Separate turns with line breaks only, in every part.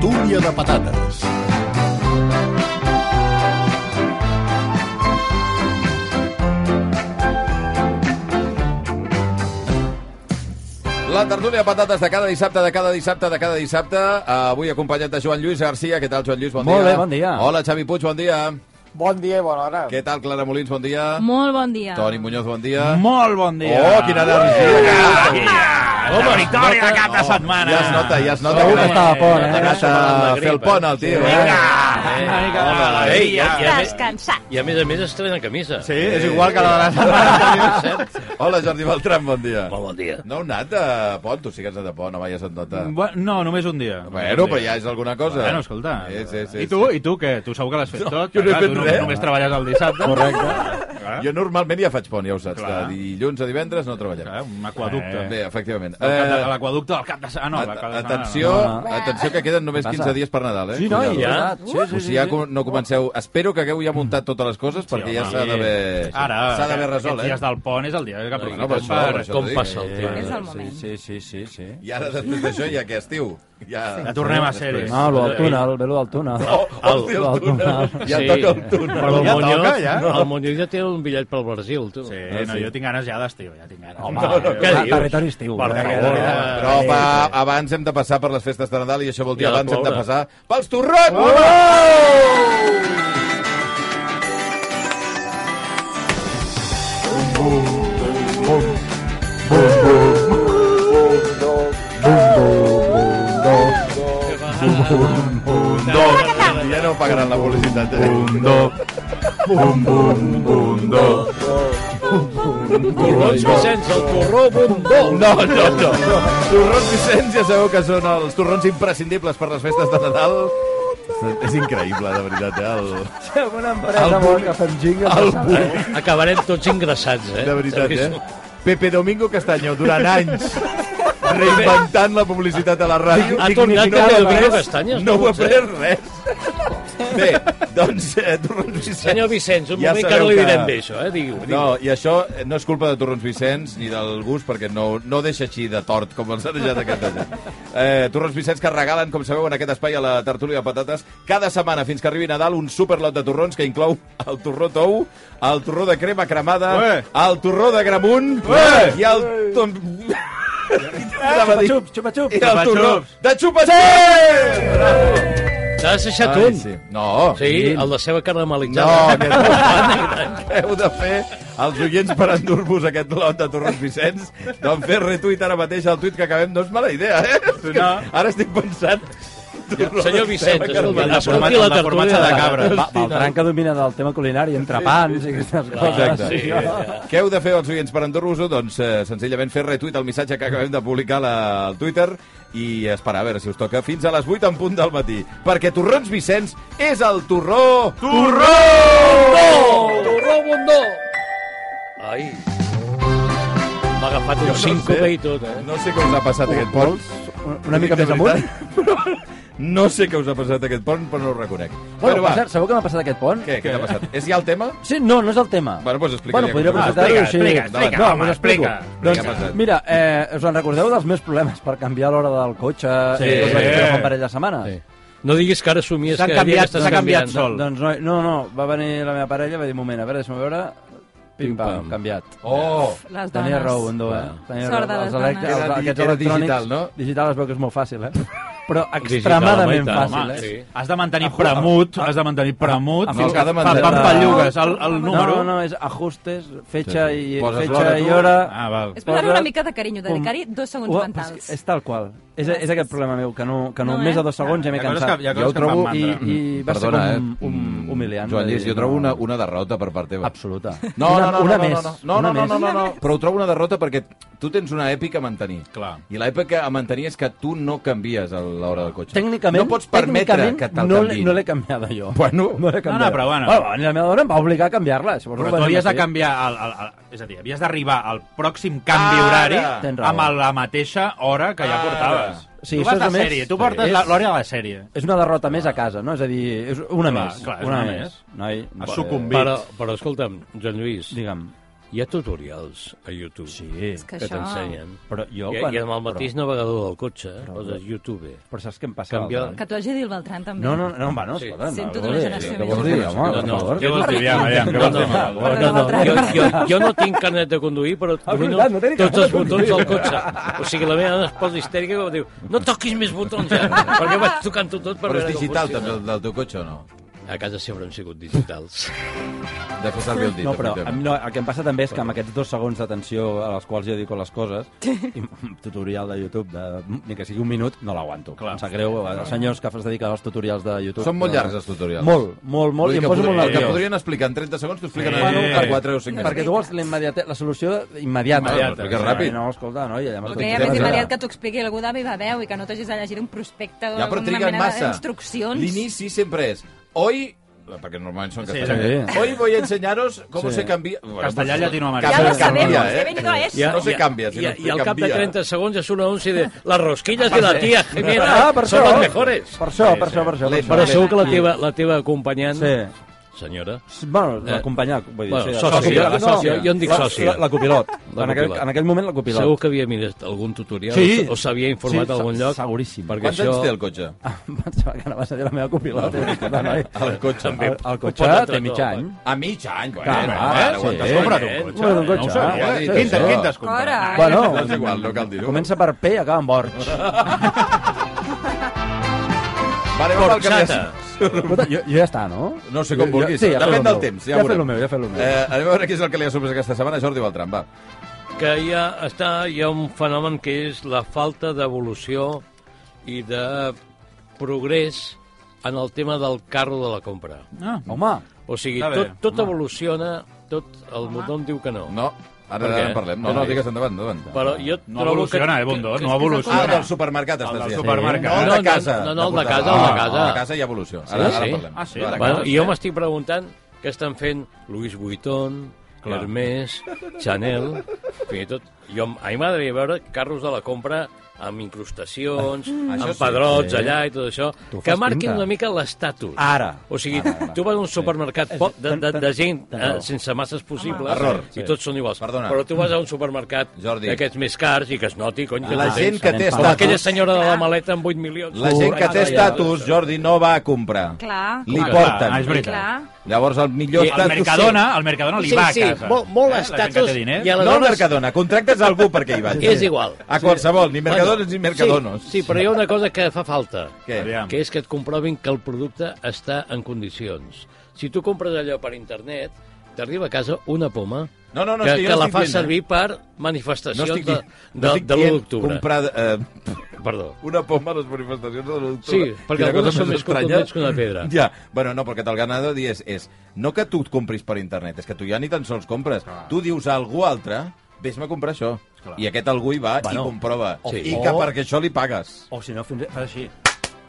tortilla de patates.
La tertúlia de patates de cada dissabte, de cada dissabte, de cada dissabte. Eh, avui acompanyat de Joan Lluís Garcia. Què tal, Joan Lluís? Bon
Molt
dia.
bé, bon dia.
Hola, Xavi Puig, bon dia.
Bon dia i bona hora.
Què tal, Clara Molins? Bon dia.
Molt bon dia.
Toni Muñoz, bon dia.
Molt bon dia.
Oh, quina energia!
Un auditori de cap de setmana.
Ja es nota, ja es nota.
Segur
que
que estava a pont, eh?
Has de fer el pont, el tio.
Vinga!
Eh?
Una mica
Ei,
d'alegria.
ja,
ja, ja.
Estàs cansat.
I a més a més estrena camisa.
Eh, Sí, és igual que la de la setmana. Hola, Jordi Beltran, bon dia.
Molt bon dia.
No heu anat a pont? Tu sí que has anat a pont, home, ja se't nota.
Bu- No, només un dia.
Bueno, però ja és alguna cosa.
Mm, Bueno, escolta.
Sí, sí, sí,
I tu, i tu què? Tu segur que l'has fet tot?
jo no he
Clar,
fet
tu
res.
Només treballes el dissabte. Correcte.
Jo normalment ja faig pont, ja ho saps.
Clar.
De dilluns a divendres no treballem.
Clar, un aquaducte.
Eh, Bé, efectivament.
Del cap de-
Eh,
L'aquaducte del cap de setmana. No, del cap de setmana,
atenció,
no.
atenció que queden només 15 dies per Nadal, eh?
Sí, noi,
Cuidado.
ja.
Ja?
Sí, sí,
O
sí,
sigui, ja
sí.
com- no comenceu... Espero que hagueu ja muntat totes les coses, perquè ja
home.
s'ha d'haver...
Ara,
eh, S'ha d'haver
aquests
resolt, eh?
dies del pont és el dia que aprofitem
no, per això, per això.
Com
t'ho dic.
passa el
És
temps?
el moment.
Eh, Sí, sí, sí, sí. sí.
I ara, després d'això, ja què, estiu? Ja...
Ja tornem a ser-hi.
No, lo del túnel, ve lo del túnel.
Oh, hòstia, el
Lo del
túnel.
túnel.
Ja
Sí.
toca el túnel.
Però el
Ja
Muñoz,
toca, ja.
el Muñoz ja té un bitllet pel Brasil, tu.
Sí, no, jo tinc ganes ja d'estiu, ja tinc ganes.
Home,
què
clar,
dius?
territori estiu.
Per
Eh,
favor.
eh, eh,
Però
eh,
pa,
eh,
abans hem de passar per les festes de Nadal i això vol dir
Ja de
abans hem de
ploure.
passar pels torrons! Ja no pagaran la publicitat. Eh?
Corrons, Vicenç, el corró bundó.
No, no, no. Torrons Vicenç, ja sabeu que són els torrons imprescindibles per les festes de Nadal. És increïble, de veritat, eh? El,
Som una empresa molt que fem jingles.
el
no sap
boom.
Eh, Acabarem tots ingressats, eh?
De veritat,
Saps?
eh? Pepe Domingo Castanyo, durant anys, reinventant la publicitat a la ràdio.
Ha tornat
dignificant
Pepe
res.
Domingo Castaño,
No ho
no
ha
potser.
pres res. Bé, doncs, eh, Torrons Vicenç...
Senyor Vicenç, un
Ja
moment que
sabeu
no li
que-
direm bé, això, eh? Digui-ho.
No,
digui-ho.
i això eh, no és culpa de Torrons Vicenç ni del gust, perquè no, no deixa així de tort com els ha deixat aquesta gent. Eh, torrons Vicenç que regalen, com sabeu, en aquest espai a la tertúlia de patates, cada setmana fins que arribi Nadal un superlot de torrons que inclou el torró tou, el torró de crema cremada,
Ué!
el torró de gramunt
Ué! Eh,
i el... Tom... Anava a dir-
Xupa-xups, xupa-xups.
i el torró
xupa-xups.
de xupa-xups!
T'has deixat
Ai,
un.
sí. No,
Sí, el de seva
no,
caramelitzada.
aquest... heu de fer els oients per endur-vos aquest lot de Torrons Vicenç d'en fer retuit ara mateix el tuit que acabem no és mala idea, eh?
No.
Ara estic pensant
Senyor Vicenç, escolta,
El de
escolti la
formatge- el de formatge
tertúlia.
de cabra.
Va, Beltran que domina del tema culinari, entrepans i aquestes
Ah,
coses.
Exacte.
Sí,
Sí, eh. Què heu de fer els oients per endur-vos-ho? Doncs eh, senzillament fer retuit al missatge que acabem de publicar la, al Twitter i esperar a veure si us toca fins a les 8 en punt del matí. Perquè Torrons Vicenç és el torró... Torró!
Torró bundó. Ai. M'ha agafat un síncope i tot, eh?
No sé què us ha passat aquest pols.
Una mica
Dic
més
de
amunt.
veritat, però No sé què us ha passat aquest pont, però no ho reconec.
Bueno, per cert, sabeu què m'ha passat aquest pont?
Què, què t'ha passat? És ja el tema?
Sí, no, no és el tema.
Bueno, doncs explica
Bueno,
ja
podria
com va.
presentar-ho
Explica,
així.
explica, explica,
No,
home,
us explico.
explica.
Què ha passat?
Doncs, mira, eh, us en recordeu dels meus problemes per canviar l'hora del cotxe?
Sí.
Que us vaig fer fa un parell de setmanes?
Sí. No diguis que ara somies
S'han
que cada dia
canviat,
que estàs
s'ha canviat
canviant.
sol.
Doncs no, no, no, va venir la meva parella i va dir, un moment, a veure, deixa'm veure... Pim, pam,
pam.
canviat.
Oh!
Les dones.
Tenia raó, Endó, eh? Tenia
Sort de
raó.
les
Els elec-
dones.
els-
Era di-
aquests
era
electrònics-
digital, no?
Digital es veu que és molt fàcil, eh? Però
Digital,
extremadament
home, i tant,
fàcil,
home,
eh?
sí.
Has de mantenir premut, has de mantenir premut.
Ah,
fins
no,
que
ha de
fa
mantenir-
pampallugues, el, el número.
No, no, és ajustes, fecha i,
Poses l'hora
fecha i
tu.
hora...
Ah, val.
És posar-li
Posa-
una mica de carinyo, dedicar-hi dos segons
Ua,
mentals.
és, és tal qual. És, és aquest problema meu, que no, que no,
No, eh?
més de dos segons ja m'he
Hi ha coses
cansat.
que- hi ha
Jo ho
coses que em fan
trobo...
mandra.
I, i va ser
Perdona,
com
eh?
un,
Mm,
un humiliant.
Joan Lluís,
de dir,
jo trobo
no.
una, una derrota per part teva.
Absoluta.
No, no, no, no,
una
no, no,
més.
no,
una
no, no, no,
més.
no, però ho trobo una derrota perquè tu tens una èpica a mantenir.
Clar.
I l'èpica a mantenir és que tu no canvies a l'hora del cotxe.
Tècnicament,
No pots permetre
tècnicament,
que te'l
no, l'he-
canviï.
no l'he canviada jo.
Bueno.
no l'he
No,
canviada.
no, però bueno.
bueno la meva dona em va obligar a canviar-la. si vols
Però
ho
tu
venim
havies
a
de
fer.
canviar... El, el, el, és a dir, havies d'arribar al pròxim canvi
Ara!
Tens
horari
raó.
amb la mateixa hora que ja
Ara.
portaves.
Sí,
tu
això
vas
és
de
a més-
sèrie, tu portes
Sí.
la- l'hora de la sèrie.
És una derrota més a casa, no? És a dir, és una
Clar,
més.
clar, és una més.
Noi,
Has
eh,
sucumbit.
Però, però escolta'm, Joan Lluís,
Digue'm.
Hi ha tutorials a YouTube sí.
És que
que
això...
t'ensenyen.
Però jo
I,
quan...
I amb el mateix
Però,
navegador del cotxe, però, poses YouTube.
però saps què em passa?
Canvia-
l'altre?
Que t'ho hagi dit el Beltran, també.
No, no, no, home, no,
Sí.
escolta,
Sento d'una generació
Què
més
vols dir,
jove.
home, per
No, no,
favor?
Què vols dir, aviam, aviam, què
No,
vols
no,
dir?
no,
Marc?
Perdona,
no, no,
Beltrán.
jo, jo, jo no Ah, tinc carnet de conduir, però domino
veritat, no tenia
tots
carnet
els
de
botons
conduir.
del cotxe. O sigui, la meva dona es posa histèrica i diu no toquis més botons ja, perquè vaig tocant-ho tot per
Però és
veure
digital,
com
també,
funciona.
el del teu cotxe, o no?
A casa sempre hem sigut digitals.
De fer servir el dit.
No, però
efectivament.
em- no, el que em passa també és que amb aquests dos segons d'atenció a les quals jo dic les coses, i un tutorial de YouTube, de, ni que sigui un minut, no l'aguanto. Em sap greu, els senyors que es dediquen als tutorials de YouTube...
Són molt
no.
llargs, els tutorials.
Molt, molt,
Vull
molt, i
dir
em
que
poso molt
podrien- El que
nerviós.
podrien explicar en 30 segons t'ho expliquen
Eh.
en en 4 o 5
Perquè tu vols la, immediate, la solució immediata.
Immediata, Però explica ràpid.
No, escolta, no, ja m'has
El que hi ha més immediat que t'ho expliqui algú de viva veu i que no t'hagis de llegir un prospecte o
Ja, però
alguna
triguen
mena
massa.
d'instruccions.
L'inici sempre és... Hoy... Perquè normalment són
Sí,
castellà.
sí.
Hoy voy a enseñaros cómo
Sí.
se cambia... Bueno,
Castellà,
pues,
llatinoamericà.
Ja lo
canvia,
sabemos,
eh?
he venido a eso.
Ja, no se canvia,
I,
sinó
i
se
al cap de
canvia.
30 segons és un anunci de les rosquilles de la tia Jimena
Ah, per
són
això.
les mejores.
Per això, per això, per això. Per
Però
això.
segur que la teva, la teva acompanyant,
Sí.
senyora,
Bueno, l'acompanyar, vull dir...
Bueno,
sí,
sòcia,
copilot,
la sòcia, jo en dic
la-
sòcia.
La, la copilot.
La
en, aquell,
copilot.
en aquell moment la copilot.
segur que havia mirat algun tutorial
Sí.
o s'havia informat
Sí,
a algun
se-
lloc.
seguríssim. Ah,
Perquè
Quants
això...
anys té el cotxe?
Em pensava que anaves a dir la meva copilot.
El cotxe.
També.
El, el
Ho
cotxe
pot entrar
té mig
tot,
any.
A ¿eh? mig any, bueno,
Clar,
bueno,
clar,
ara, quan
Ah, sí.
t'has comprat un
Eh,
cotxe.
Bueno, un
No ho eh?
cotxe.
sabia.
ah, sí,
Quinta,
sí.
Quintes, quintes,
Cora!
compra.
Bueno,
eh? No és igual, no cal dir-ho.
comença per P i acaba amb Borch.
Vale, va, pel que
Porxata.
Escolta, jo, jo ja està, no?
No sé com
Jo- jo-
vulguis.
Sí, ja
Depèn
fet el
del
meu.
temps, ja
Ja he
veurem.
fet el meu, ja he fet el meu.
Eh, anem a veure què és el que li ha sorprès aquesta setmana a Jordi Beltran, va.
que hi ha, està, hi ha un fenomen que és la falta d'evolució i de progrés en el tema del carro de la compra.
Home,
O sigui,
Està bé,
tot, tot evoluciona, tot el Modon diu que no.
No, ara
Per què? Ah.
en parlem. No, no, digues endavant, endavant.
Però jo
No
trobo
evoluciona,
que,
eh, Bondó,
que-
no
Ah,
evoluciona.
del supermercat estàs
del
dient.
supermercat.
No, el
No,
de
no,
casa.
no, no, el de
portar.
casa, el de
Ah,
casa.
El de casa hi ha evolució. Ara,
Sí?
ara
Sí.
parlem.
Ah, sí,
Va,
de
Bueno,
casa.
jo m'estic preguntant què estan fent Louis Vuitton, Clar. Hermès, Chanel, fins i tot... Jo, a mi m'agradaria veure carros de la compra amb incrustacions, amb
sí.
pedrots
Sí.
allà i tot això,
Tu fas Ah.
que marquin
pinta.
una mica l'estatus.
Ara.
O sigui, tu vas a un supermercat poc de, de, de gent eh, sense masses possibles
Error.
i tots són iguals.
Perdona.
Però tu vas a un supermercat
Jordi.
d'aquests més cars i que es noti, cony, que
La
tu
gent
tens.
que té
Com
Com aquella
estatus...
senyora de la maleta amb 8 milions.
La gent que té estatus, Jordi, no va a comprar.
Clar.
Li
Clar,
porten.
ah, és veritat.
Clar.
Llavors, el millor
I el
El
estatus...
Mercadona, el Mercadona li
Sí,
va a
sí,
casa.
molt- molt
Eh, la gent que té
estatus
diners.
i a la-
No el
Aleshores-
Mercadona, contractes algú perquè hi vagi.
És igual.
A qualsevol, ni Mercadones ni Mercadonos.
Sí, sí, però hi ha una cosa que fa falta,
Què?
Aviam.
que és que et comprovin que el producte està en condicions. Si tu compres allò per internet, t'arriba a casa una poma
No, no, no,
que,
és que jo
que
no
la
estic
fa
dient, eh?
servir per
No
manifestacions
estic,
de,
dient-
de,
no estic
de l'1
dient
d'octubre.
comprar eh,
Perdó.
una poma a les manifestacions de l'1
Sí,
d'octubre.
perquè
Quina
algunes
cosa
són més
estranya.
contundents que una pedra.
Ja, bueno, no, perquè el que anava a dir és, és no que tu et compris per internet, és que tu ja ni tan sols compres. Tu dius a algú altre, vés-me a comprar això. I aquest algú hi va
Bueno,
i comprova.
o-
I que perquè això li pagues.
o si no, fins, fas així.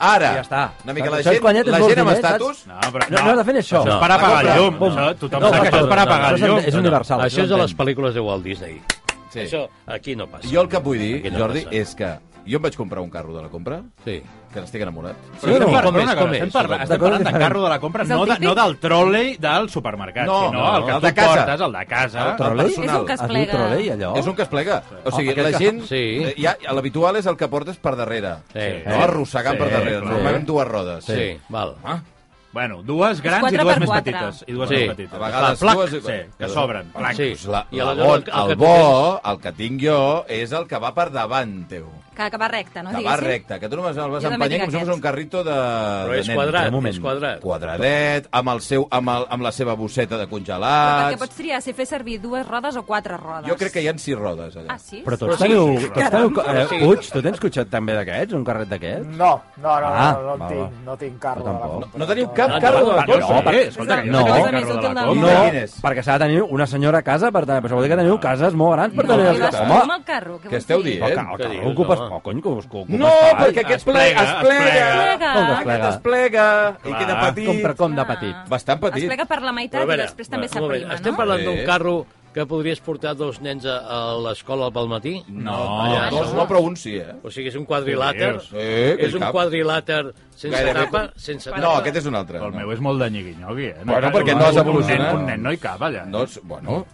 Ara,
Ja està.
una mica
Això
la
és
gent,
quan ja tens
la
molts
gent amb
diners,
estatus...
No, però
No, no has de fer això.
Això
No.
és per
No,
apagar la llum.
compra.
Això, tothom
No,
sap que això és per
no,
apagar
això
la
és-
llum.
és universal,
No, no.
això
Això és
ho
a les
entenc.
pel·lícules de Walt Disney.
Sí.
Això aquí no passa.
Jo el que vull dir,
Aquí no
Jordi,
passa.
és que jo em vaig comprar un carro de la compra,
Sí.
que n'estic enamorat.
Però estem parlant-
no? Com és,
perdona,
com
que
és?
estem parlant- Estem
D'acord,
parlant de
diferent.
carro de la compra,
És el
no, de,
típic?
no del tròlei del supermercat,
No,
sinó
no,
el que
el
tu
de casa.
portes, el de casa.
El tròlei?
És un que es
Es diu
plega.
trolei, allò?
És un que es plega. O sigui,
aquell
la
que-
gent...
Sí.
eh, Ja, L'habitual és el que portes per darrere.
Sí.
No arrossegant
Sí,
per darrere.
clar.
Normalment dues rodes.
Sí, val.
Ah,
Bueno, dues grans i
quatre
dues
per
més
quatre.
petites. I dues
Sí.
més
a
petites.
vegades
Clar, plac.
dues...
Sí, que s'obren. Blanc.
Sí.
Pues la,
I
la,
aleshores
bon, el,
que tu
bo, el que tinc jo, és el que va per davant teu.
Que, que va recte, no?
que va
Diguéssim.
recte, que tu només el vas
Jo també
empenyent
tinc
com si fos
aquest.
un carrito de...
Però
de
és
nen.
quadrat,
Un moment.
és quadrat.
Quadradet, amb, el seu, amb, el, amb la seva bosseta de
Però perquè
congelats...
pots triar si fer servir dues rodes o quatre rodes.
Jo crec que hi ha sis rodes, allà.
Ah, sí?
Però tots
sí,
teniu...
sí,
Tots teniu
Caram,
eh,
sí.
Puig, tu tens cotxet també d'aquests? Un carret d'aquests?
No, no, no,
Ah,
no, no, no,
va,
tinc,
va.
no tinc
Jo
carro de la
tampoc.
compra.
No teniu cap
No,
carro de
no,
la
no,
compra?
no,
Eh?
Escolta, que
No.
jo
És
tinc
la
el
més
carro de
útil
la compra.
del
No,
món.
Quin és?
perquè s'ha de tenir una senyora a casa, per tant, però vol dir que teniu cases molt grans per
No,
tenir...
i vas
home,
amb el carro, què
Què
vols
esteu
dir?
dient?
el ca- el
Què
carro
dius,
ocupes...
home?
Oh, cony, que us- que ocupes
No,
espai.
perquè aquest
Es
ple
plega,
es
es
plega,
plega.
Plega.
Com que es
Aquest
plega?
es plega i
Clar.
queda petit.
Com per com de
Ah.
petit.
Bastant petit.
Es plega per la meitat
Però a veure,
i després també
un moment,
s'aprima,
Estem
no?
parlant d'un
Sí.
carro que podries portar dos nens a, a l'escola pel matí?
No,
Ah,
no.
dos no, però un sí, eh?
O sigui, és un quadrilàter?
Dios.
Sí, que
és un
cap.
quadrilàter sense
Gairebé
tapa?
com-
Sense tapa?
No, aquest és un altre.
El
no.
meu és molt de nyigui-nyogui, eh?
Bueno,
hi cap-
perquè
un-
no has
un nen-
evolucionat.
Un nen no hi cap, allà.
No, és- bueno,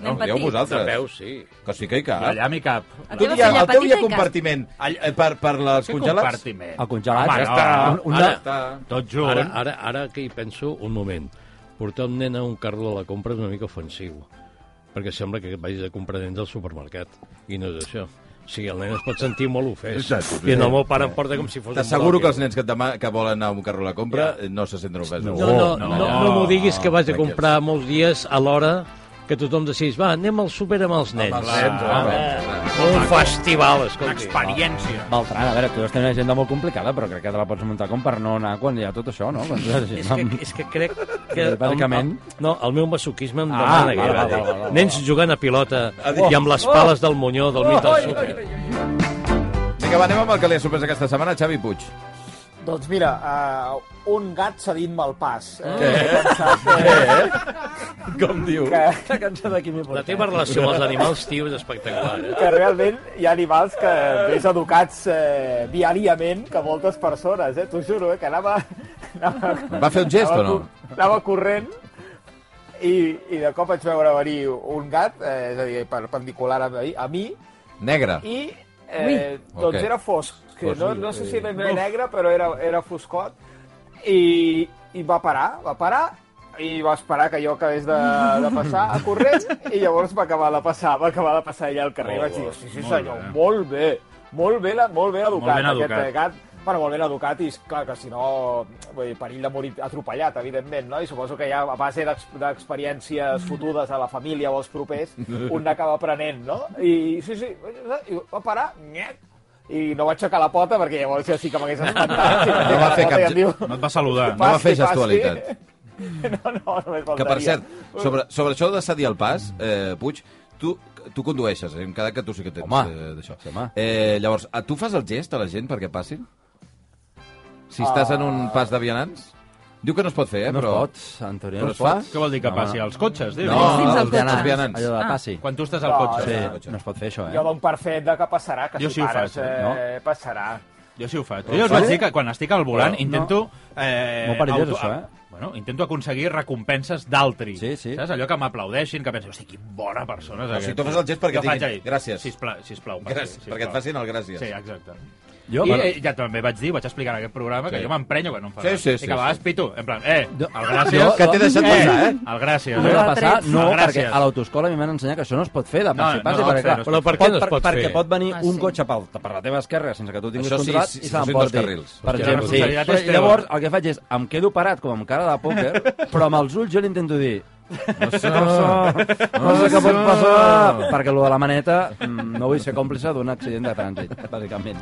Nen
Ho dieu
petit.
vosaltres.
De peus, sí.
Que sí que hi cap.
Allà m'hi cap.
El
Tu
teu
hi ha,
fill
el teu hi
petit
ha
i cas.
compartiment eh, per, per les
Què
congelats? Ah,
compartiment?
El congelat,
Home,
ja
no.
està.
Un-
Una-
Ara,
Tot junt.
eh?
Ara, ara, ara que hi penso, un moment. Portar un nen a un carro de la compra és una mica ofensiu, perquè sembla que vagis a comprar nens al supermercat, i no és això. O sigui, el nen es pot sentir molt ofès.
Exacte.
I el meu pare em porta com si fos un
T'asseguro que
bròquil.
els nens que, et demà, que volen anar a un carro a la compra eh, no se senten ofesos.
No, no, no, no, no m'ho diguis que vas a
Tranquils.
comprar molts dies a l'hora que tothom decidís, va, anem al súper amb els nens.
els nens,
Home, un festival, escolti.
Experiència.
Valtran, a veure, tu has tenir una agenda molt complicada, però crec que te la pots muntar com per no anar quan hi ha tot això, no? Quan
És que, és que crec que... el-
Bàsicament.
el- no, el meu masoquisme em
Ah,
demana que...
val, val, val, val, val.
Nens jugant a pilota i amb les pales del Muñó del mig del súper.
Vinga, va, anem amb el que li ha sorprès aquesta setmana, Xavi Puig. Ah.
Doncs mira, uh, un gat cedint-me el pas. Eh? He pensat que,
Com diu?
que,
La cançó d'aquí m'hi
La teva relació amb els animals, tio, és espectacular. Eh?
que realment hi ha animals que més educats eh, diàriament que moltes persones, eh? T'ho juro, eh? Que anava... anava
Va fer un gest o no?
cor- Anava corrent i, i de cop vaig veure venir un gat, eh, és a dir, perpendicular a mi, a mi
Negre.
i eh,
Ui.
doncs
Ok.
era fosc. Que
Fosc.
no, no sé si ben bé negre, però era, era foscot. I, I va parar, va parar, i va esperar que jo acabés de, de passar a corrent, i llavors va acabar de passar, va acabar de passar allà al carrer.
Molt
Vaig dir,
bo,
sí, sí,
molt
senyor,
bé.
molt bé, molt bé, la- molt ben educat,
ben
aquest
educat.
eh, gat. Bueno, molt ben educat, i és clar que si no, vull dir, perill de morir atropellat, evidentment, no? I suposo que ja a base d'ex- d'experiències fotudes a la família o als propers, un acaba aprenent, no? I sí, sí, i va parar, nyec, i no va aixecar la pota perquè llavors ja sí que m'hagués espantat. Si
No va fer cap ge-
No et va saludar.
No va fer gestualitat.
No, no, només faltaria.
Que, per cert, sobre, sobre això de cedir el pas, eh, Puig, tu, tu condueixes, hem quedat que tu sí que tens
Home.
eh, d'això.
Sí, home.
eh, llavors, a, tu fas el gest a la gent perquè passin? Si estàs en un pas de vianants? Diu que no es pot fer, eh,
Ah. No es
però...
pot, Antonio, no
Però
es
es fa?
pot.
Què vol dir que passi? Els cotxes, dius?
No,
Fins al
els vianants,
cotxe.
vianants.
Allò de passi.
Quan tu estàs al
No,
cotxe.
Sí,
no,
no es pot fer això,
Jo
eh?
dono per fet de que passarà, que
Jo
si
sí ho
pares,
faig,
eh, passarà.
Jo sí ho faig. Jo us vaig dir que quan estic al volant intento... Eh,
Molt perillós, això, eh?
Bueno, intento aconseguir recompenses d'altri.
Sí, sí.
Saps? Allò que m'aplaudeixin, que penso, hosti, que bona persona és
O
aquest.
sigui, tu fas el gest perquè
Jo faig
diguin,
ahí,
"Gràcies".
Sisplau, sisplau. per
Gràcies,
fi,
perquè et
sisplau.
facin el gràcies.
Sí, exacte.
Jo,
I
bueno,
eh, ja també vaig dir, vaig explicar en aquest programa, que
Sí.
jo m'emprenyo quan no em fa
Sí,
res.
sí,
I
sí,
que a vegades
sí.
pito, en plan, eh, el
Jo-
gràcies...
Que t'he deixat passar, eh?
El gràcies,
No
eh?
va passar, no,
No, gràcies.
perquè a l'autoscola a mi m'han ensenyat que això no es pot fer, de passi,
no
passi,
es pot
perquè,
fer,
clar,
no es
Però per què no es pot fer?
perquè pot venir
Ah,
un
sí.
cotxe pel, per la teva esquerra sense que tu tinguis
Això sí,
controlat
sí,
i
sí,
se
sí,
l'emporti.
dos carrils.
Per
Hòstia,
exemple,
la
sí.
responsabilitat és teva.
Llavors, el que faig és, em quedo parat com amb cara de pòquer, però amb els ulls jo l'intento dir, no sé, no sé, no sé què pot passar, perquè lo de la maneta mm, no vull ser còmplice d'un accident de trànsit, bàsicament.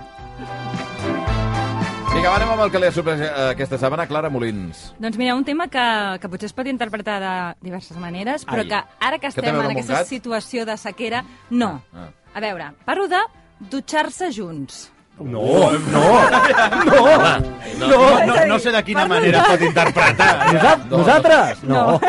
Vinga, va, anem amb el que li ha sorprès eh, aquesta setmana, Clara Molins.
Doncs mira, un tema que, que potser es pot interpretar de diverses maneres, però
Ai.
que ara
Que
que
té a
estem
veure
en
amb un
aquesta
gat?
situació de sequera, no.
Ah, ah.
A veure, parlo de dutxar-se junts.
No,
No, no, no sé de quina
Perdona.
manera es pot interpretar.
Nosaltres? No.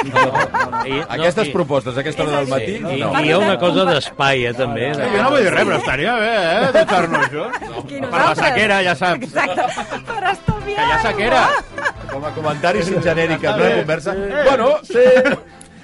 I,
Aquestes
i-
propostes, a aquesta hora del matí...
Sí, i,
no.
i hi ha una cosa d'espai, eh, també.
Eh, Jo no vull dir res, però estaria bé, eh, dutxar-nos junts.
Aquí
Per la
nosaltres.
sequera, ja saps.
Exacte, per estalviar
Que hi ha sequera.
Com a comentari sin genèric, no de conversa. Bueno, sí,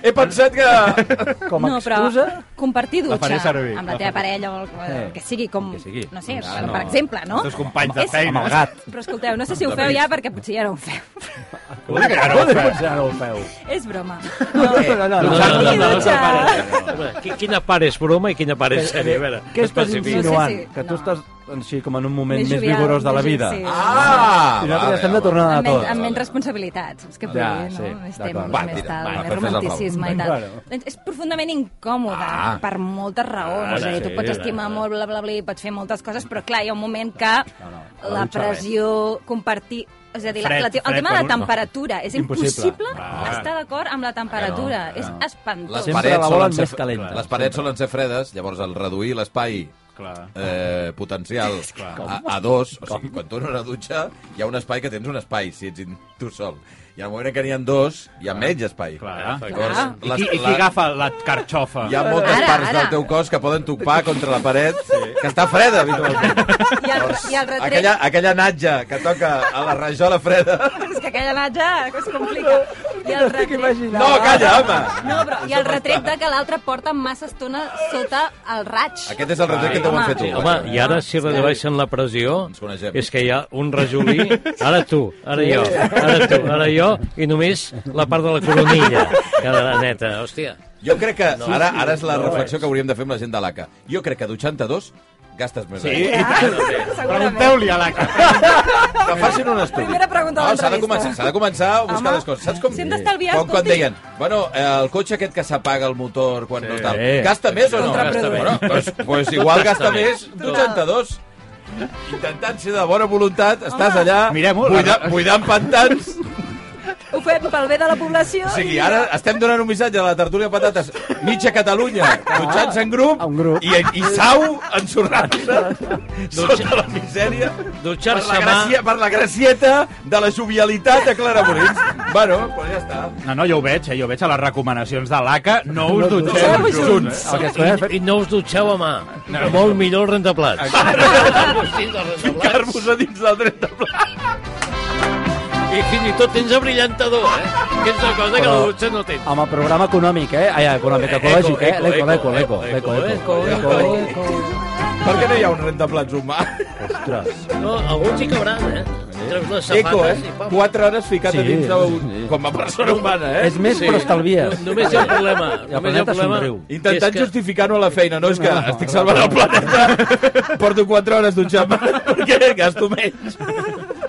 he pensat que...
Com a
no, però
excusa?
compartir
La faré
dutxa
servir.
amb la teva parella o el, el que sigui, com,
que sigui.
no sé,
Ah,
per,
no.
per exemple, no?
Els teus companys de
És-
feina.
Amb el gat.
Però escolteu, no sé si ho feu ja, perquè potser ja no ho feu.
Vull dir que ja no ho fem.
Potser no ho feu.
És broma.
No, no, no.
No,
no.
no, no, no, no,
Dutxa.
no, no. Qui- Quina part és broma i quina part és sèrie? A veure,
Què
es
estàs
pacifica.
insinuant?
No sé si-
Que tu
no.
estàs així com en un moment
Més
més
jovial,
vigorós de la
més-
vida.
sí.
Ah!
I nosaltres
va,
estem
bé,
de tornada
amb,
a
menys,
tots.
amb menys responsabilitats. És que avui,
Ja, sí,
no? Més
d'acord.
temes,
Va,
més
tira,
tal,
va, fes
més
el favor.
romanticisme i tal.
Bueno.
Doncs és profundament incòmode
Ah.
per moltes raons.
Ara
és a dir, tu
sí,
pots estimar
ara.
molt, bla, bla, bla, i pots fer moltes coses, però clar, hi ha un moment que
no,
la
dutxa
pressió, compartir... És a dir, la,
Fred,
la, te- el
fred
tema
per
de
un-
la temperatura. És
Impossible.
impossible
Ah.
estar d'acord amb la temperatura. És espantós.
Les
Sempre
parets
la
solen
volen
ser-
més calenta.
Les parets solen ser fredes, llavors al reduir l'espai
Clar.
eh, potencial a, a dos, o sigui, quan tu en una dutxa hi ha un espai que tens un espai, si ets in- tu sol. I al moment en què n'hi ha dos, hi ha menys espai.
Clar.
Llavors,
Clar.
I qui, i qui agafa la carxofa?
Hi ha moltes
Ara,
parts
ara.
del teu cos que poden topar contra la paret, que està freda, habitualment.
I el, i el retret...
Aquella, aquella natja que toca a la rajola freda.
És que aquella natja es complica. I el
Estic
retret...
imaginant.
No, calla, home!
No, però, i el retret de que l'altre porta massa estona sota el raig.
Aquest és el retret que et deuen
Home.
fer tu.
Sí, home, i ara si redueixen la pressió
Ens coneixem.
és que hi ha un rajolí, ara tu, ara jo, ara tu, ara jo, i només la part de la coronilla quedarà neta, hòstia.
Jo crec que...
No.
Ara, ara és la
No ho
reflexió
és.
que hauríem de fer amb la gent de l'ACA. Jo crec que dutxant a dos gastes més
Sí,
aigua.
i tant.
Segurament.
Pregunteu-li a l'ACA.
Que facin un estudi.
Primera pregunta de
no, s'ha de
l'entrevista.
començar, s'ha de començar a buscar
Home,
les coses. Saps com...
si hem d'estalviar,
com quan
escolti.
deien, bueno, eh, el cotxe aquest que s'apaga el motor quan no tal,
Sí.
gasta més o no?
Contraproduent.
Bueno, doncs, pues igual gasta
Gasta
més
més.
dutxant a dos. Intentant ser de bona voluntat, estàs allà
Mirem-ho.
buida, buidant pantans.
Ho fem pel bé de la població.
O sigui, ara estem donant un missatge a la tertúlia de patates. Mitja Catalunya,
Ah,
dutxant-se en grup,
En grup.
i, i sau ensorrant-se sota la misèria per la,
Dutxar-se mà...
gràcia, per la gracieta de la jovialitat de Clara Morins. Bueno, però ja està.
No, no, jo ho veig, eh? jo veig a les recomanacions de l'ACA, no us
dutxeu
dutxeu junts.
El que s'ha fet...
I, I no us dutxeu a mà. Molt millor el rentaplats. Sí, el rentaplats.
Ficar-vos a dins del dret de pla.
I fins i tot tens abrillantador, eh? Que és una cosa que la
Però-
dutxa no tens.
Amb el programa econòmic, eh? Ai, econòmic, ecològic, eh? L'eco, l'eco, l'eco, l'eco, l'eco, l'eco, l'eco.
Per què no hi ha un rentaplats humà?
Ostres.
No, alguns hi cabran, eh? Treus les safates
Eco, eh?
i pam.
Quatre hores ficat a
Sí,
dins d'un...
sí.
Com a persona humana, eh?
És més, però estalvies.
No- Només hi ha un problema.
I el
només hi ha un
planeta
problema.
somriu.
Intentant
que és que-
justificar-ho a la feina, no? És que estic salvant el planeta. Porto 4 hores dutxant perquè gasto menys.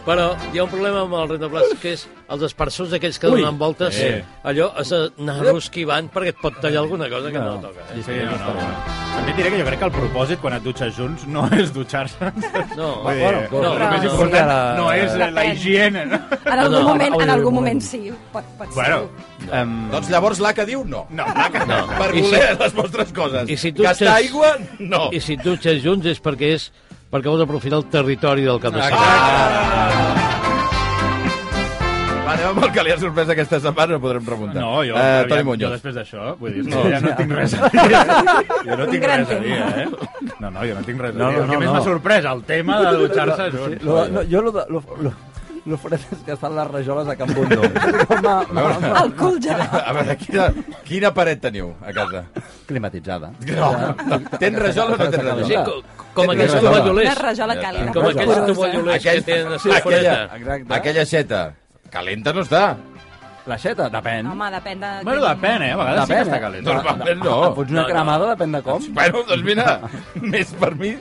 Però hi ha un problema amb el rentaplats, que és els espersors aquells que donen voltes,
Eh.
allò has d'anar esquivant perquè et pot tallar alguna cosa que no, toca. Eh?
Sí, sí, no, no. També et diré que jo crec que el propòsit quan et dutxes junts no és dutxar-se.
No,
Vull dir,
no,
no, no,
el
no,
més
sí,
important
ara-
no és la
Depèn.
higiene, no?
En algun
No, no,
moment, en
oi,
algun
un moment.
moment sí, pot, pot ser.
Bueno,
eh, Em,
Doncs llavors l'ACA diu no.
no, l'ACA no.
Per
I si-
voler les vostres coses.
i si tu
Gastar
ets-
aigua, no.
I si et dutxes junts és perquè és perquè vols aprofitar el territori del cap de setmana.
Ah! Va, anem amb el que li ha sorprès aquesta setmana, no podrem remuntar.
No, jo,
eh,
aviam,
Toni
jo
Muñoz.
després d'això, vull dir, no, ja no tinc res a dir. Jo no
Un
tinc
gran
res a dir,
tema.
eh? No, no, jo no tinc res a dir.
No,
el
no,
que
no,
més
no.
m'ha sorprès, el tema de dutxar-se junts.
lo, no, jo lo, de- lo, lo, lo fred és que estan les rajoles a Can Bundó. Ma- ma-
El cul gelat.
A veure, quina, quina paret teniu a casa?
Climatitzada.
No. Tens rajol o no tens rajol?
Sí,
clar.
co- com
Tens
aquells
rajola.
Una
tovallolers.
rajola càlida.
Com aquells
porosa.
tovallolers que tenen la seva foreta.
Exacte.
aquella aixeta calenta no està.
La xeta, depèn.
Home, depèn de...
Bueno, depèn, eh? A vegades sí que està calent.
Normalment no.
Em fots una
No, no.
cremada, depèn de com.
Bueno, doncs mira, més per mi.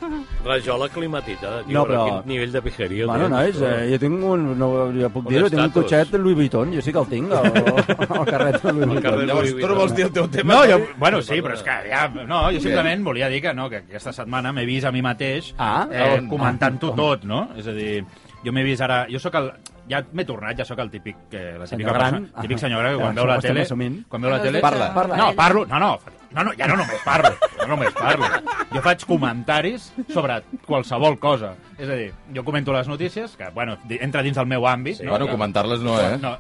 Rajola climatitzada, tio,
No,
no, però...
però-
quin nivell de pijeria.
Bueno, nois, eh, jo tinc un... No, jo puc dir-ho, tinc un
estatus.
cotxet Louis Vuitton, jo sí que el tinc, el, el carret de Louis Vuitton.
carrer
Llavors,
Louis
tu no vols dir el teu tema?
No, jo, bueno, sí, però és que ja... No, jo simplement volia dir que no, que aquesta setmana m'he vist a mi mateix
Ah,
eh,
on?
comentant-ho tot, no? És a dir, jo m'he vist ara... Jo sóc el... Ja m'he tornat, ja sóc el típic... Eh, la típica
Senyor gran.
persona- Típic senyor gran que
Ah,
quan veu la
ho estem
tele...
assumint.
Quan veu la
Ah,
tele...
Parla.
Parla.
No, parlo... No, no, no, no, ja no només parlo. No només parlo. Jo faig comentaris sobre qualsevol cosa. És a dir, jo comento les notícies, que, bueno, di- entra dins del meu àmbit.
Sí,
no?
bueno,
Que-
comentar-les no, eh?
No,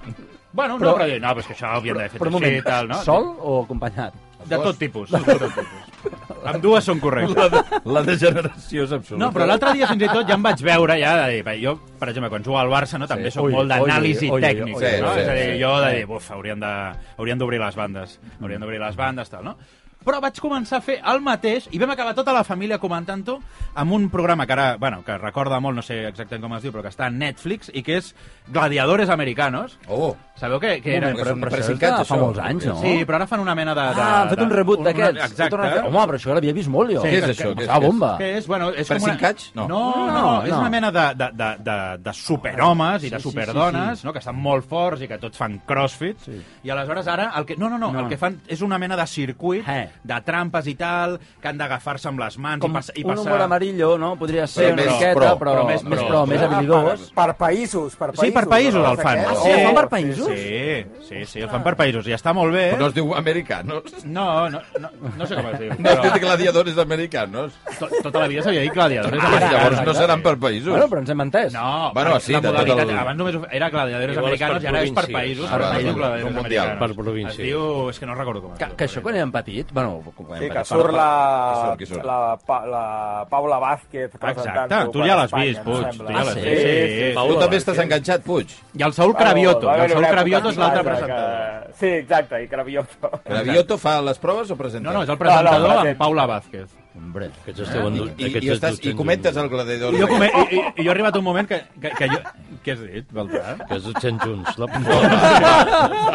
bueno, no,
Però-
però, dir, no, però és que això ho havíem d'haver fet
Però un
així
moment,
i tal, no?
sol o acompanyat?
De tot tipus. De tot tipus. Amb dues són correctes.
La, la degeneració és absoluta.
No, però l'altre dia fins i tot ja em vaig veure ja de dir, "Bé, jo, per exemple, quan jugo al Barça, no, també
Sí.
sóc
Ui,
molt d'anàlisi
ui, ui,
tècnica,
ui, ui,
no?
sí,
és a
sí.
dir, jo de dir, buf, haurien de- haurien d'obrir les bandes, haurien d'obrir les bandes, tal, no? Però vaig començar a fer el mateix i vam acabar tota la família comentant-ho amb un programa que ara, bueno, que recorda molt, no sé exactament com es diu, però que està a Netflix i que és Gladiadores Americanos.
Oh,
Sabeu que, que
Un
era...
moment,
però- però
això és
sincat,
de
això.
fa molts anys, no?
Sí, però ara fan una mena de... de
Ah, han fet
de-
un rebut
una-
d'aquests.
Exacte.
Ho tornen a fer. Home, però això l'havia vist molt, jo.
Sí,
Què és
que-
això?
que
Què és-
Passava bomba.
Que és, bueno, és com
Percy
una...
Catch? No.
No, no, no,
No,
és
no.
una mena de, de, de, de, de superhomes i de
Sí, sí,
superdones,
sí, sí.
no?, que estan molt forts i que tots fan crossfit, sí. i aleshores ara el que... No, no, no,
No.
el que fan és una mena de circuit,
Eh.
de trampes i tal, que han d'agafar-se amb les mans
Com
i, passar... i
un
passar...
humor amarillo, no? Podria ser
més
una miqueta,
pro,
però,
però més
més,
pro.
pro, més habilidós.
Per països, per països.
Sí, per països
no?
el fan. Eh,
Aquest.
Ah, sí, el fan per països?
Sí, sí, sí, el fan per països, i està molt bé.
però no es diu americanos.
No, no, no, no sé com es diu.
No es diu
però
gladiadores americanos.
to- Tota la vida s'havia dit gladiadores.
Ah,
Pues llavors no
americanes.
seran per països.
Bueno, però ens hem entès.
No,
Bueno,
perquè
sí,
la
de tot
modalitat,
el-
abans només era gladiadores
Igual és per
americanos i ara és per
províncies.
països,
Ah,
per
vale,
països
vale.
gladiadores
Un mundial.
americanos.
Per províncies.
Es diu... És que no recordo com es
Que,
diu.
que això quan érem petits, bueno, Bueno, quan-
Sí, que
quan-
surt
Que
la,
surt, que surt.
la, pa, la Paula Vázquez presentant-ho
tu
per
ja l'has
Espanya,
vist,
em
Puig, tu
sembla.
ja
Ah,
l'has
sí?
vist, sí, sí.
Paula,
Tu també
eh?
estàs enganxat, Puig.
I el Saúl Cravioto, i el Saúl Cravioto és l'altre presentador.
presentador. Sí, exacte, i Cravioto.
Gravioto fa les proves o presenta?
No, no, és el presentador
no, no,
amb Paula Vázquez.
Hombre.
Aquests esteu en...
I,
aquests
i, estàs,
dutxen
i comentes el gladiador.
I jo, come... I, i, i jo he arribat un moment que, que, que jo... Què has dit, Baltar?
junts. Que es dutxen junts. La...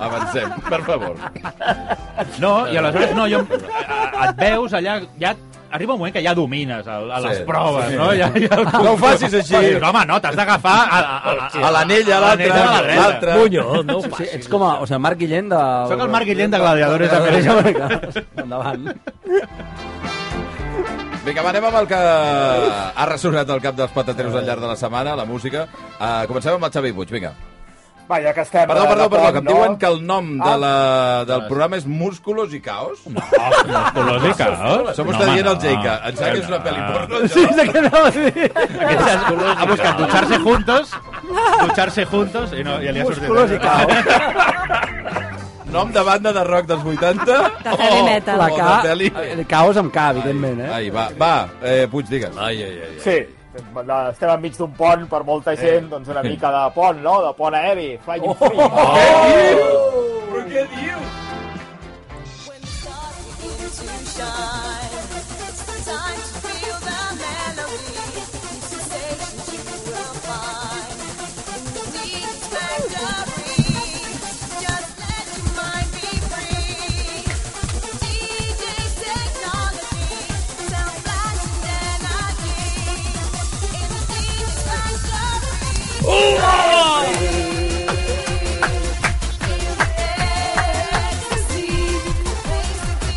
Avancem, per favor.
No, i aleshores no, jo, a- et veus allà, ja arriba un moment que ja domines a, a les
Sí,
proves,
sí.
no? Ja, ja...
No ho facis així.
Dius, home, no, t'has d'agafar a, a,
A l'anella, a l'altre,
l'anella de la dreta.
l'altre.
Punyo, no ho
Sí,
passis.
ets com a, o sigui, Marc Guillén de...
Soc el Marc Guillén de Gladiadores de Mereix.
Guillén. Endavant.
Vinga, va, anem amb el que ha ressonat al cap dels patateros al llarg de la setmana, la música. Uh, comencem amb el Xavi Puig, vinga.
Va, ja que estem...
Perdó,
de-
perdó,
de
perdó,
pont,
que em
no?
diuen que el nom de la, del
Ah.
programa és Músculos i Caos. No,
Colors i caos.
Això m'ho està dient el Jake. Em sembla que és una pel·li porno,
Sí,
això.
és el que anava a dir.
Ha buscat dutxar-se juntos, dutxar-se juntos, i no, ja li ha sortit.
Musculos i caos.
Nom de banda de rock dels 80.
De heavy
o
metal.
La
de
K,
pel·li.
el caos amb K, evidentment, eh?
Ai, va, va, eh, Puig, digues.
Ai, ai, ai. ai.
Sí, la- estem enmig d'un pont per molta gent, doncs una mica de pont, no? De pont aeri.
Oh!
Flying free.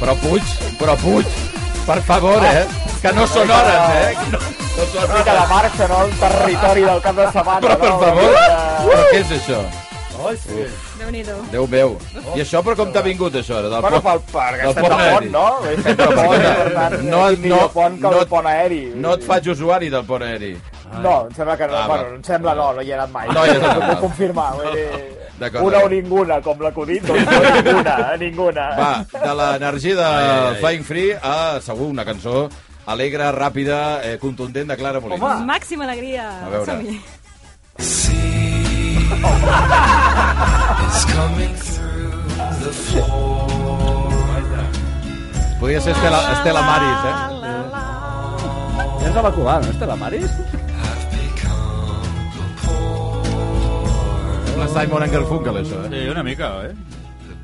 Però Puig, però Puig, per favor, eh? Que no són hores, eh? Que No, no són
Una mica de
hores.
marxa, no? El territori del cap de setmana.
Però, per
no? Una
favor,
mica-
però què és això?
Déu-n'hi-do.
Déu meu. I això, però com t'ha vingut, això? Ara, del
Bueno,
pont?
pel parc,
Del
estem de
pont
pont,
aeri.
no? Estem de pont, per tant,
No,
quin millor
no,
pont que
no-
el pont aeri.
No et faig usuari del pont aeri.
No, em sembla que no.
Ah,
bueno,
va.
em sembla no, no hi he anat mai.
No hi has anat
Ho
mai.
puc confirmar. vull dir,
D'acord,
Una o
d'acord.
ninguna, com l'acudit, doncs no, ninguna, ninguna.
Va, de l'energia
Ai, ai,
de
ai.
Flying Free a, segur, una cançó alegre, ràpida, eh, contundent de Clara Molins.
Home. Màxima alegria.
A veure.
Som-hi.
Podria ser Estela, Estela Maris, eh?
És de la cubana, no és de la Maris?
La Simon and Garfunkel, això, eh?
Sí, una mica, eh?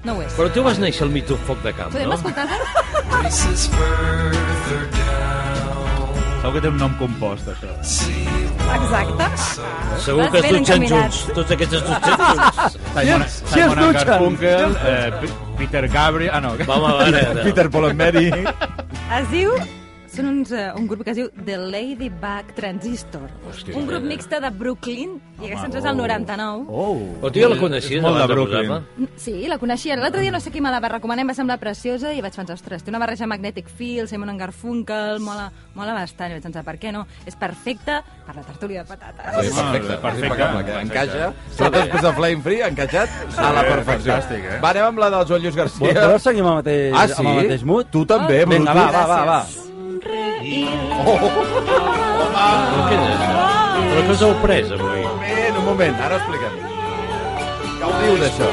No ho és.
Però tu vas néixer al mig d'un foc de camp,
Podem
no?
escoltar-la?
Segur que té un nom compost, això.
Exacte.
Segur
Vas
que es
ben
dutxen
encaminat.
junts. Tots aquests es dutxen junts.
Simon,
si es
Simon
dutxen.
Garfunkel, eh, P- Peter Gabriel... Ah, no.
Vam
eh.
a veure.
Peter Paul and Mary.
Es diu... Són uns, eh, un grup que es diu The Ladybug Transistor.
Hòstia,
un grup
eh.
mixte de Brooklyn, i aquesta ens és del 99.
Oh.
O tu ja la coneixies,
És molt de
abans del
Brooklyn.
programa?
Sí, la coneixia. L'altre dia no sé qui me la va recomanar, em va semblar preciosa i vaig pensar, ostres, té una barreja Magnetic Field, Simon and Garfunkel, mola, mola bastant. I vaig pensar, per què no? És perfecta per la tertúlia de patates.
Ah, Sí, perfecte,
Perfecte.
perfecte. impecable, que Encaixa, sobretot
bé.
després de Flame Free, ha encaixat a la perfecció.
fantàstic, eh?
Va, anem amb la del Joan Lluís
Vols,
García.
vols seguir amb el mateix,
Ah, sí?
amb el mateix mood?
Tu també, Brutus.
Vinga, va, va, va, va.
Però què és això?
Oh!
Però què us heu pres, avui?
Un moment, un moment, ara ho expliquem. Que ho diu, d'això?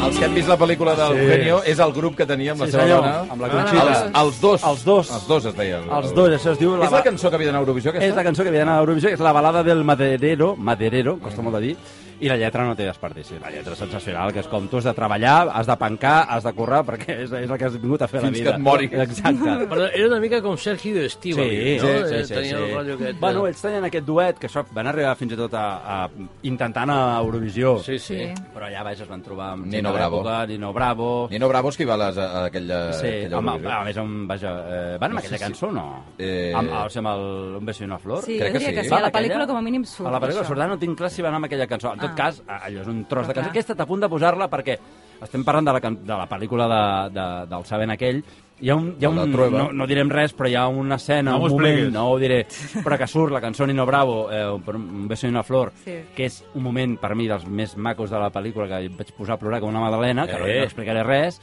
Els que hem vist la pel·lícula del sí. Genio és el grup que teníem la
Sí,
seva
senyor,
dona.
amb la Conxita.
Els, els dos.
Els dos.
Els dos es deien.
Els dos, això es diu...
És la cançó que havia d'anar a Eurovisió, aquesta?
És la cançó que havia d'anar a Eurovisió, que és la balada del Maderero, Maderero, costa molt de dir, i la lletra no té desperdici. La lletra és sensacional, que és com tu has de treballar, has de pencar, has de currar, perquè és, és el que has vingut a fer a la
Fins
vida.
que et moris.
Exacte.
Però era una mica com Sergi de
Sí,
Estiva.
sí,
no? Eh,
sí, sí,
Tenia el rotllo
sí.
aquest.
Bueno,
de-
ells tenien aquest eh. duet, que això van arribar fins i tot a, a intentant a Eurovisió.
Sí, sí.
Sí.
Però allà, vaja, es van trobar amb
Nino
gent de
Bravo.
l'època, Nino Bravo...
Nino Bravo és qui va a, les, a a aquella,
Sí,
aquella
home,
Eurovisió.
a més, amb, vaja, eh, van amb aquella cançó o no?
Eh,
Amb, o sigui, amb el Un beso i una flor?
Sí,
Crec
jo
que
diria
sí.
que sí.
Va,
A la
aquella?
pel·lícula com a mínim surt.
A la pel·lícula
eh?
Ah,
això.
surt, ara no tinc clar si va anar amb aquella cançó. En tot
Ah.
cas, a- allò és un tros
Però
de cançó.
clar.
Aquesta t'apunta a posar-la perquè estem parlant de la, can- de la pel·lícula de, de, del Saben aquell, hi ha un, hi ha
El de
un
Trueba.
no, no direm res, però hi ha una escena,
No mos
un moment,
plegues.
no ho diré, però que surt la cançó Nino Bravo, eh, per un beso i una flor,
Sí.
que és un moment, per mi, dels més macos de la pel·lícula, que em vaig posar a plorar com una madalena, que
Eh.
eh. no explicaré res,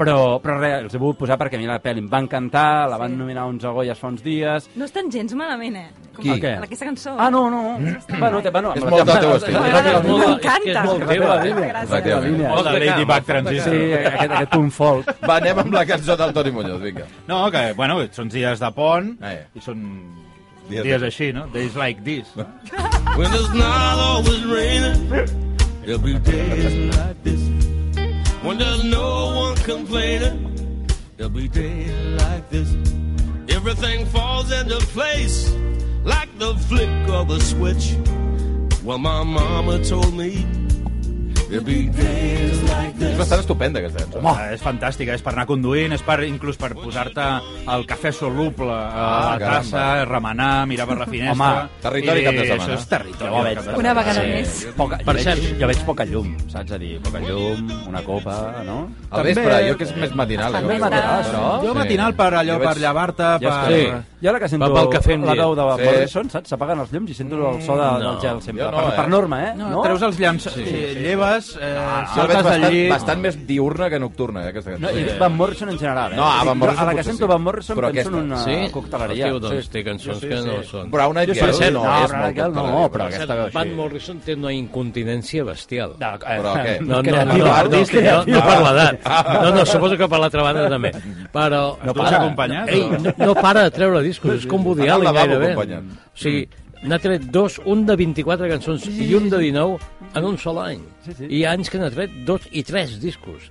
però, però res, els he volgut posar perquè a mi la pel·li em va encantar, la van
Sí.
nominar a uns Goyas fa uns dies,
No estan gens malament, eh? Com
Qui?
a-
El què?
Aquesta cançó.
Ah, no, no. no. bueno, te, bueno,
És molt del teu estil.
M'agrada,
Molt- és que
M'encanta.
és molt teva, eh?
Gràcies.
Efectivament.
O la Ladybug
Sí,
Transistor.
aquest, aquest punt folk.
Va, anem amb la cançó del Toni Muñoz, vinga.
No, que, bueno, són dies de pont
Eh.
i són
Dies
dies,
de-
així, no? Days like this. No?
When it's not always raining, there'll be days like this. When there's no one complaining, there'll be days like this. Everything falls into place like the flick of a switch. Well, my mama told me there'll be days like
És
this.
bastant estupenda, aquesta cançó.
Home, Ah, és fantàstica, és per anar conduint, és per inclús per posar-te el cafè soluble a
Ah,
la
caramba.
tassa, remenar, mirar per la finestra...
Home,
territori
I
cap de setmana.
Això és territori.
Jo ho
cap de
veig, jo ho
setmana.
Una vegada més.
Poca,
Per
per jo,
cert-
veig, jo veig poca llum, saps? A dir, poca llum, una copa, no?
Al vespre, jo que és més matinal.
També
eh,
matinal,
aquesta.
això.
Jo matinal per allò,
Jo vaig-
per llevar-te,
Ja
per...
està. Ah, Sí. Jo ara que sento
Va pel cafè amb
la
llet.
veu de
Sí.
sí. Morrison, saps? S'apaguen els llums i sento el so de,
no,
del gel sempre.
jo no,
per,
eh?
per norma, eh?
No, treus els llamps, sí, lleves, eh,
Ah, Jo la veig
saltes del
bastant,
llit...
bastant més diurna que nocturna, eh, aquesta
No,
cançó.
I Van Morrison en general, eh?
No, ah, Van
Jo
Morrison
A la que
potser
sento
sí.
Van Morrison
Però
penso en
aquesta-
una
Sí?
Ah, cocteleria.
Hòstia, doncs té cançons que no són.
Brown Eyed
Jo
Girl
sé,
no,
no,
és
Brown
molt
Eyed Girl no,
coctelera.
però
Per
aquesta veu així.
cert, Van Morrison té una incontinència bestial.
No, eh,
Però què?
No, no, no, no,
creativa,
no, no,
artística.
no, no per l'edat. No, no, suposo que per l'altra banda també. Però...
No para. acompanyat,
Ei,
o?
no, no para de treure discos, és com Woody
Anar al
Allen
lavabo
gairebé.
acompanyat.
O sigui, n'ha tret dos, un de 24 cançons i un de 19 en un sol any. I hi ha anys que n'ha tret dos i tres discos.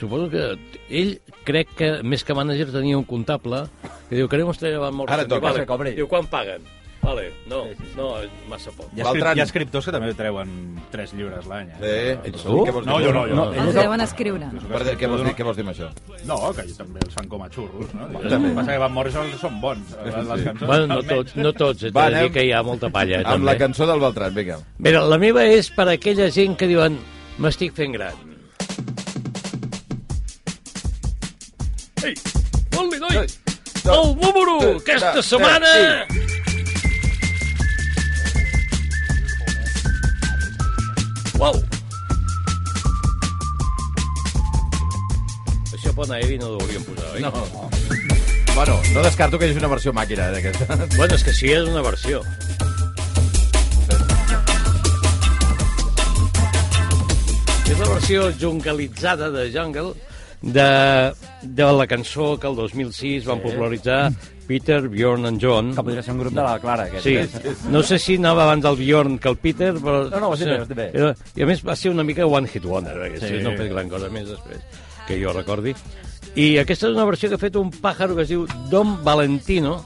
Suposo que ell crec que, més que mànager, tenia un comptable que diu, queremos traer a Van Morrison.
Ara toca,
Diu,
que cobri.
Diu, quan paguen? Vale, no, no, massa poc.
Hi ha,
L'altre any.
escript, hi ha escriptors que també treuen tres llibres l'any. Eh?
Eh, ets tu?
Tu?
Què vols dir?
No, jo no, jo no.
No,
Els deuen escriure.
Per- Què vols dir, què vols dir amb això?
No, que també els fan com a xurros, no?
També.
També. Passa que Van Morrison són bons, les les cançons.
Bueno, no
almenys.
tots, no tots, et
Va,
he de dir
anem-
que hi ha molta palla. eh,
Amb la
també.
cançó del Beltran, vinga.
Mira, la meva és per a aquella gent que diuen m'estic fent gran. Ei, on li doi? El número
dos,
aquesta
tres,
setmana... Uau! Això pot anar eh? heavy, no ho hauríem posat, oi? No.
Bueno, no descarto que hi hagi una versió màquina d'aquesta.
Bueno, és que sí, és una versió. És la versió jungalitzada de Jungle de, de la cançó que el 2006 van popularitzar Peter, Bjorn and John.
Que podria ser un grup de la Clara, aquest.
Sí, no sé si anava abans el Bjorn que el Peter, però...
No, no, ho has dit bé, ho has dit bé.
Era- I a més va ser una mica One Hit Wonder, perquè
Sí.
sí. no ha fet gran cosa més després, que jo recordi. I aquesta és una versió que ha fet un pàjaro que es diu Don Valentino,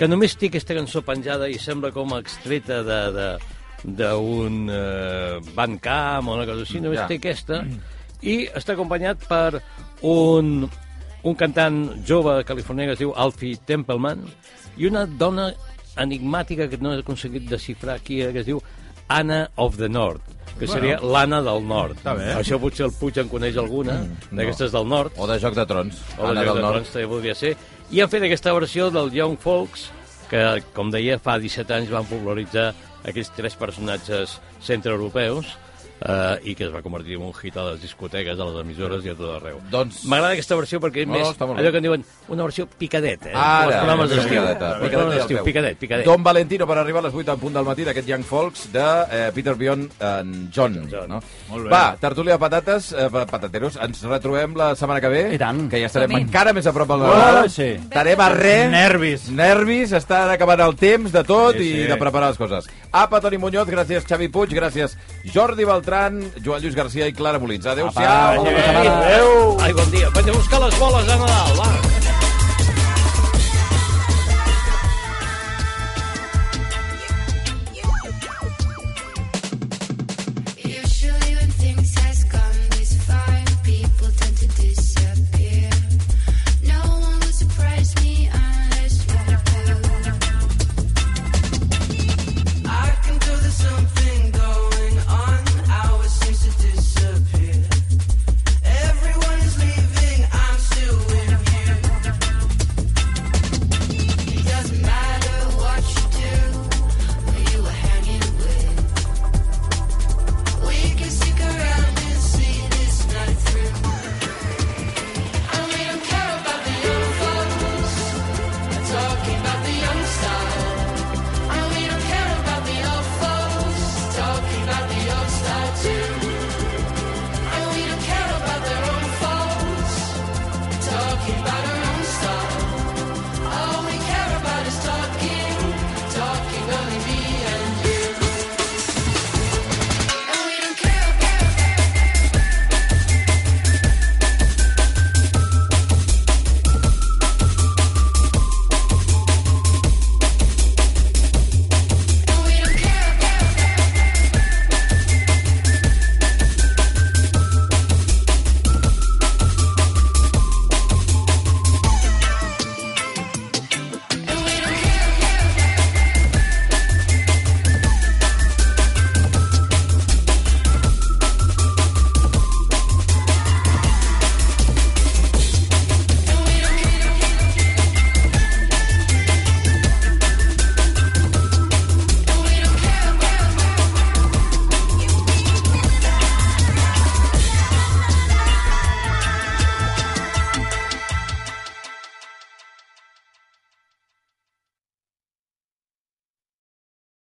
que només té aquesta cançó penjada i sembla com extreta de... de d'un eh, bancamp o una cosa així, només
Ja.
té aquesta i està acompanyat per un, un cantant jove californià que es diu Alfie Templeman i una dona enigmàtica que no he aconseguit desxifrar qui era, que es diu Anna of the North que seria l'Anna del Nord.
bé.
Això potser el Puig en coneix alguna, d'aquestes del Nord.
O de Joc de Trons.
O la
Anna
Joc
del
de
Nord.
Trons també podria ser. I han fet aquesta versió del Young Folks, que, com deia, fa 17 anys van popularitzar aquests tres personatges centreeuropeus eh, i que es va convertir en un hit a les discoteques, a les emissores i a tot arreu.
Doncs-
M'agrada aquesta versió perquè és
No, no,
més
està molt
allò
bé.
que en diuen una versió picadeta.
Ara,
Eh? Com els programes
picadeta,
d'estiu.
picadeta,
Els programes
al
d'estiu,
peu.
Picadet, picadet.
Don Valentino per arribar a les 8 en punt del matí d'aquest Young Folks de eh, Peter Bion en John.
John.
No?
Molt bé.
Va, tertúlia de patates, eh, pa- patateros, ens retrobem la setmana que ve.
I tant.
Que ja estarem
Som-hi.
encara més a prop del
Oh,
Nadal.
sí.
Estarem a re.
Nervis.
Nervis, estan acabant el temps de tot
Sí,
sí, sí.
sí.
i de preparar les coses. Apa, Toni Muñoz, gràcies Xavi Puig, gràcies Jordi Beltran, Joan Lluís Ah, Garcia i Clara Molins. Adéu-siau.
Apa,
Ai, bon dia. Vaig a buscar les boles a Nadal, va.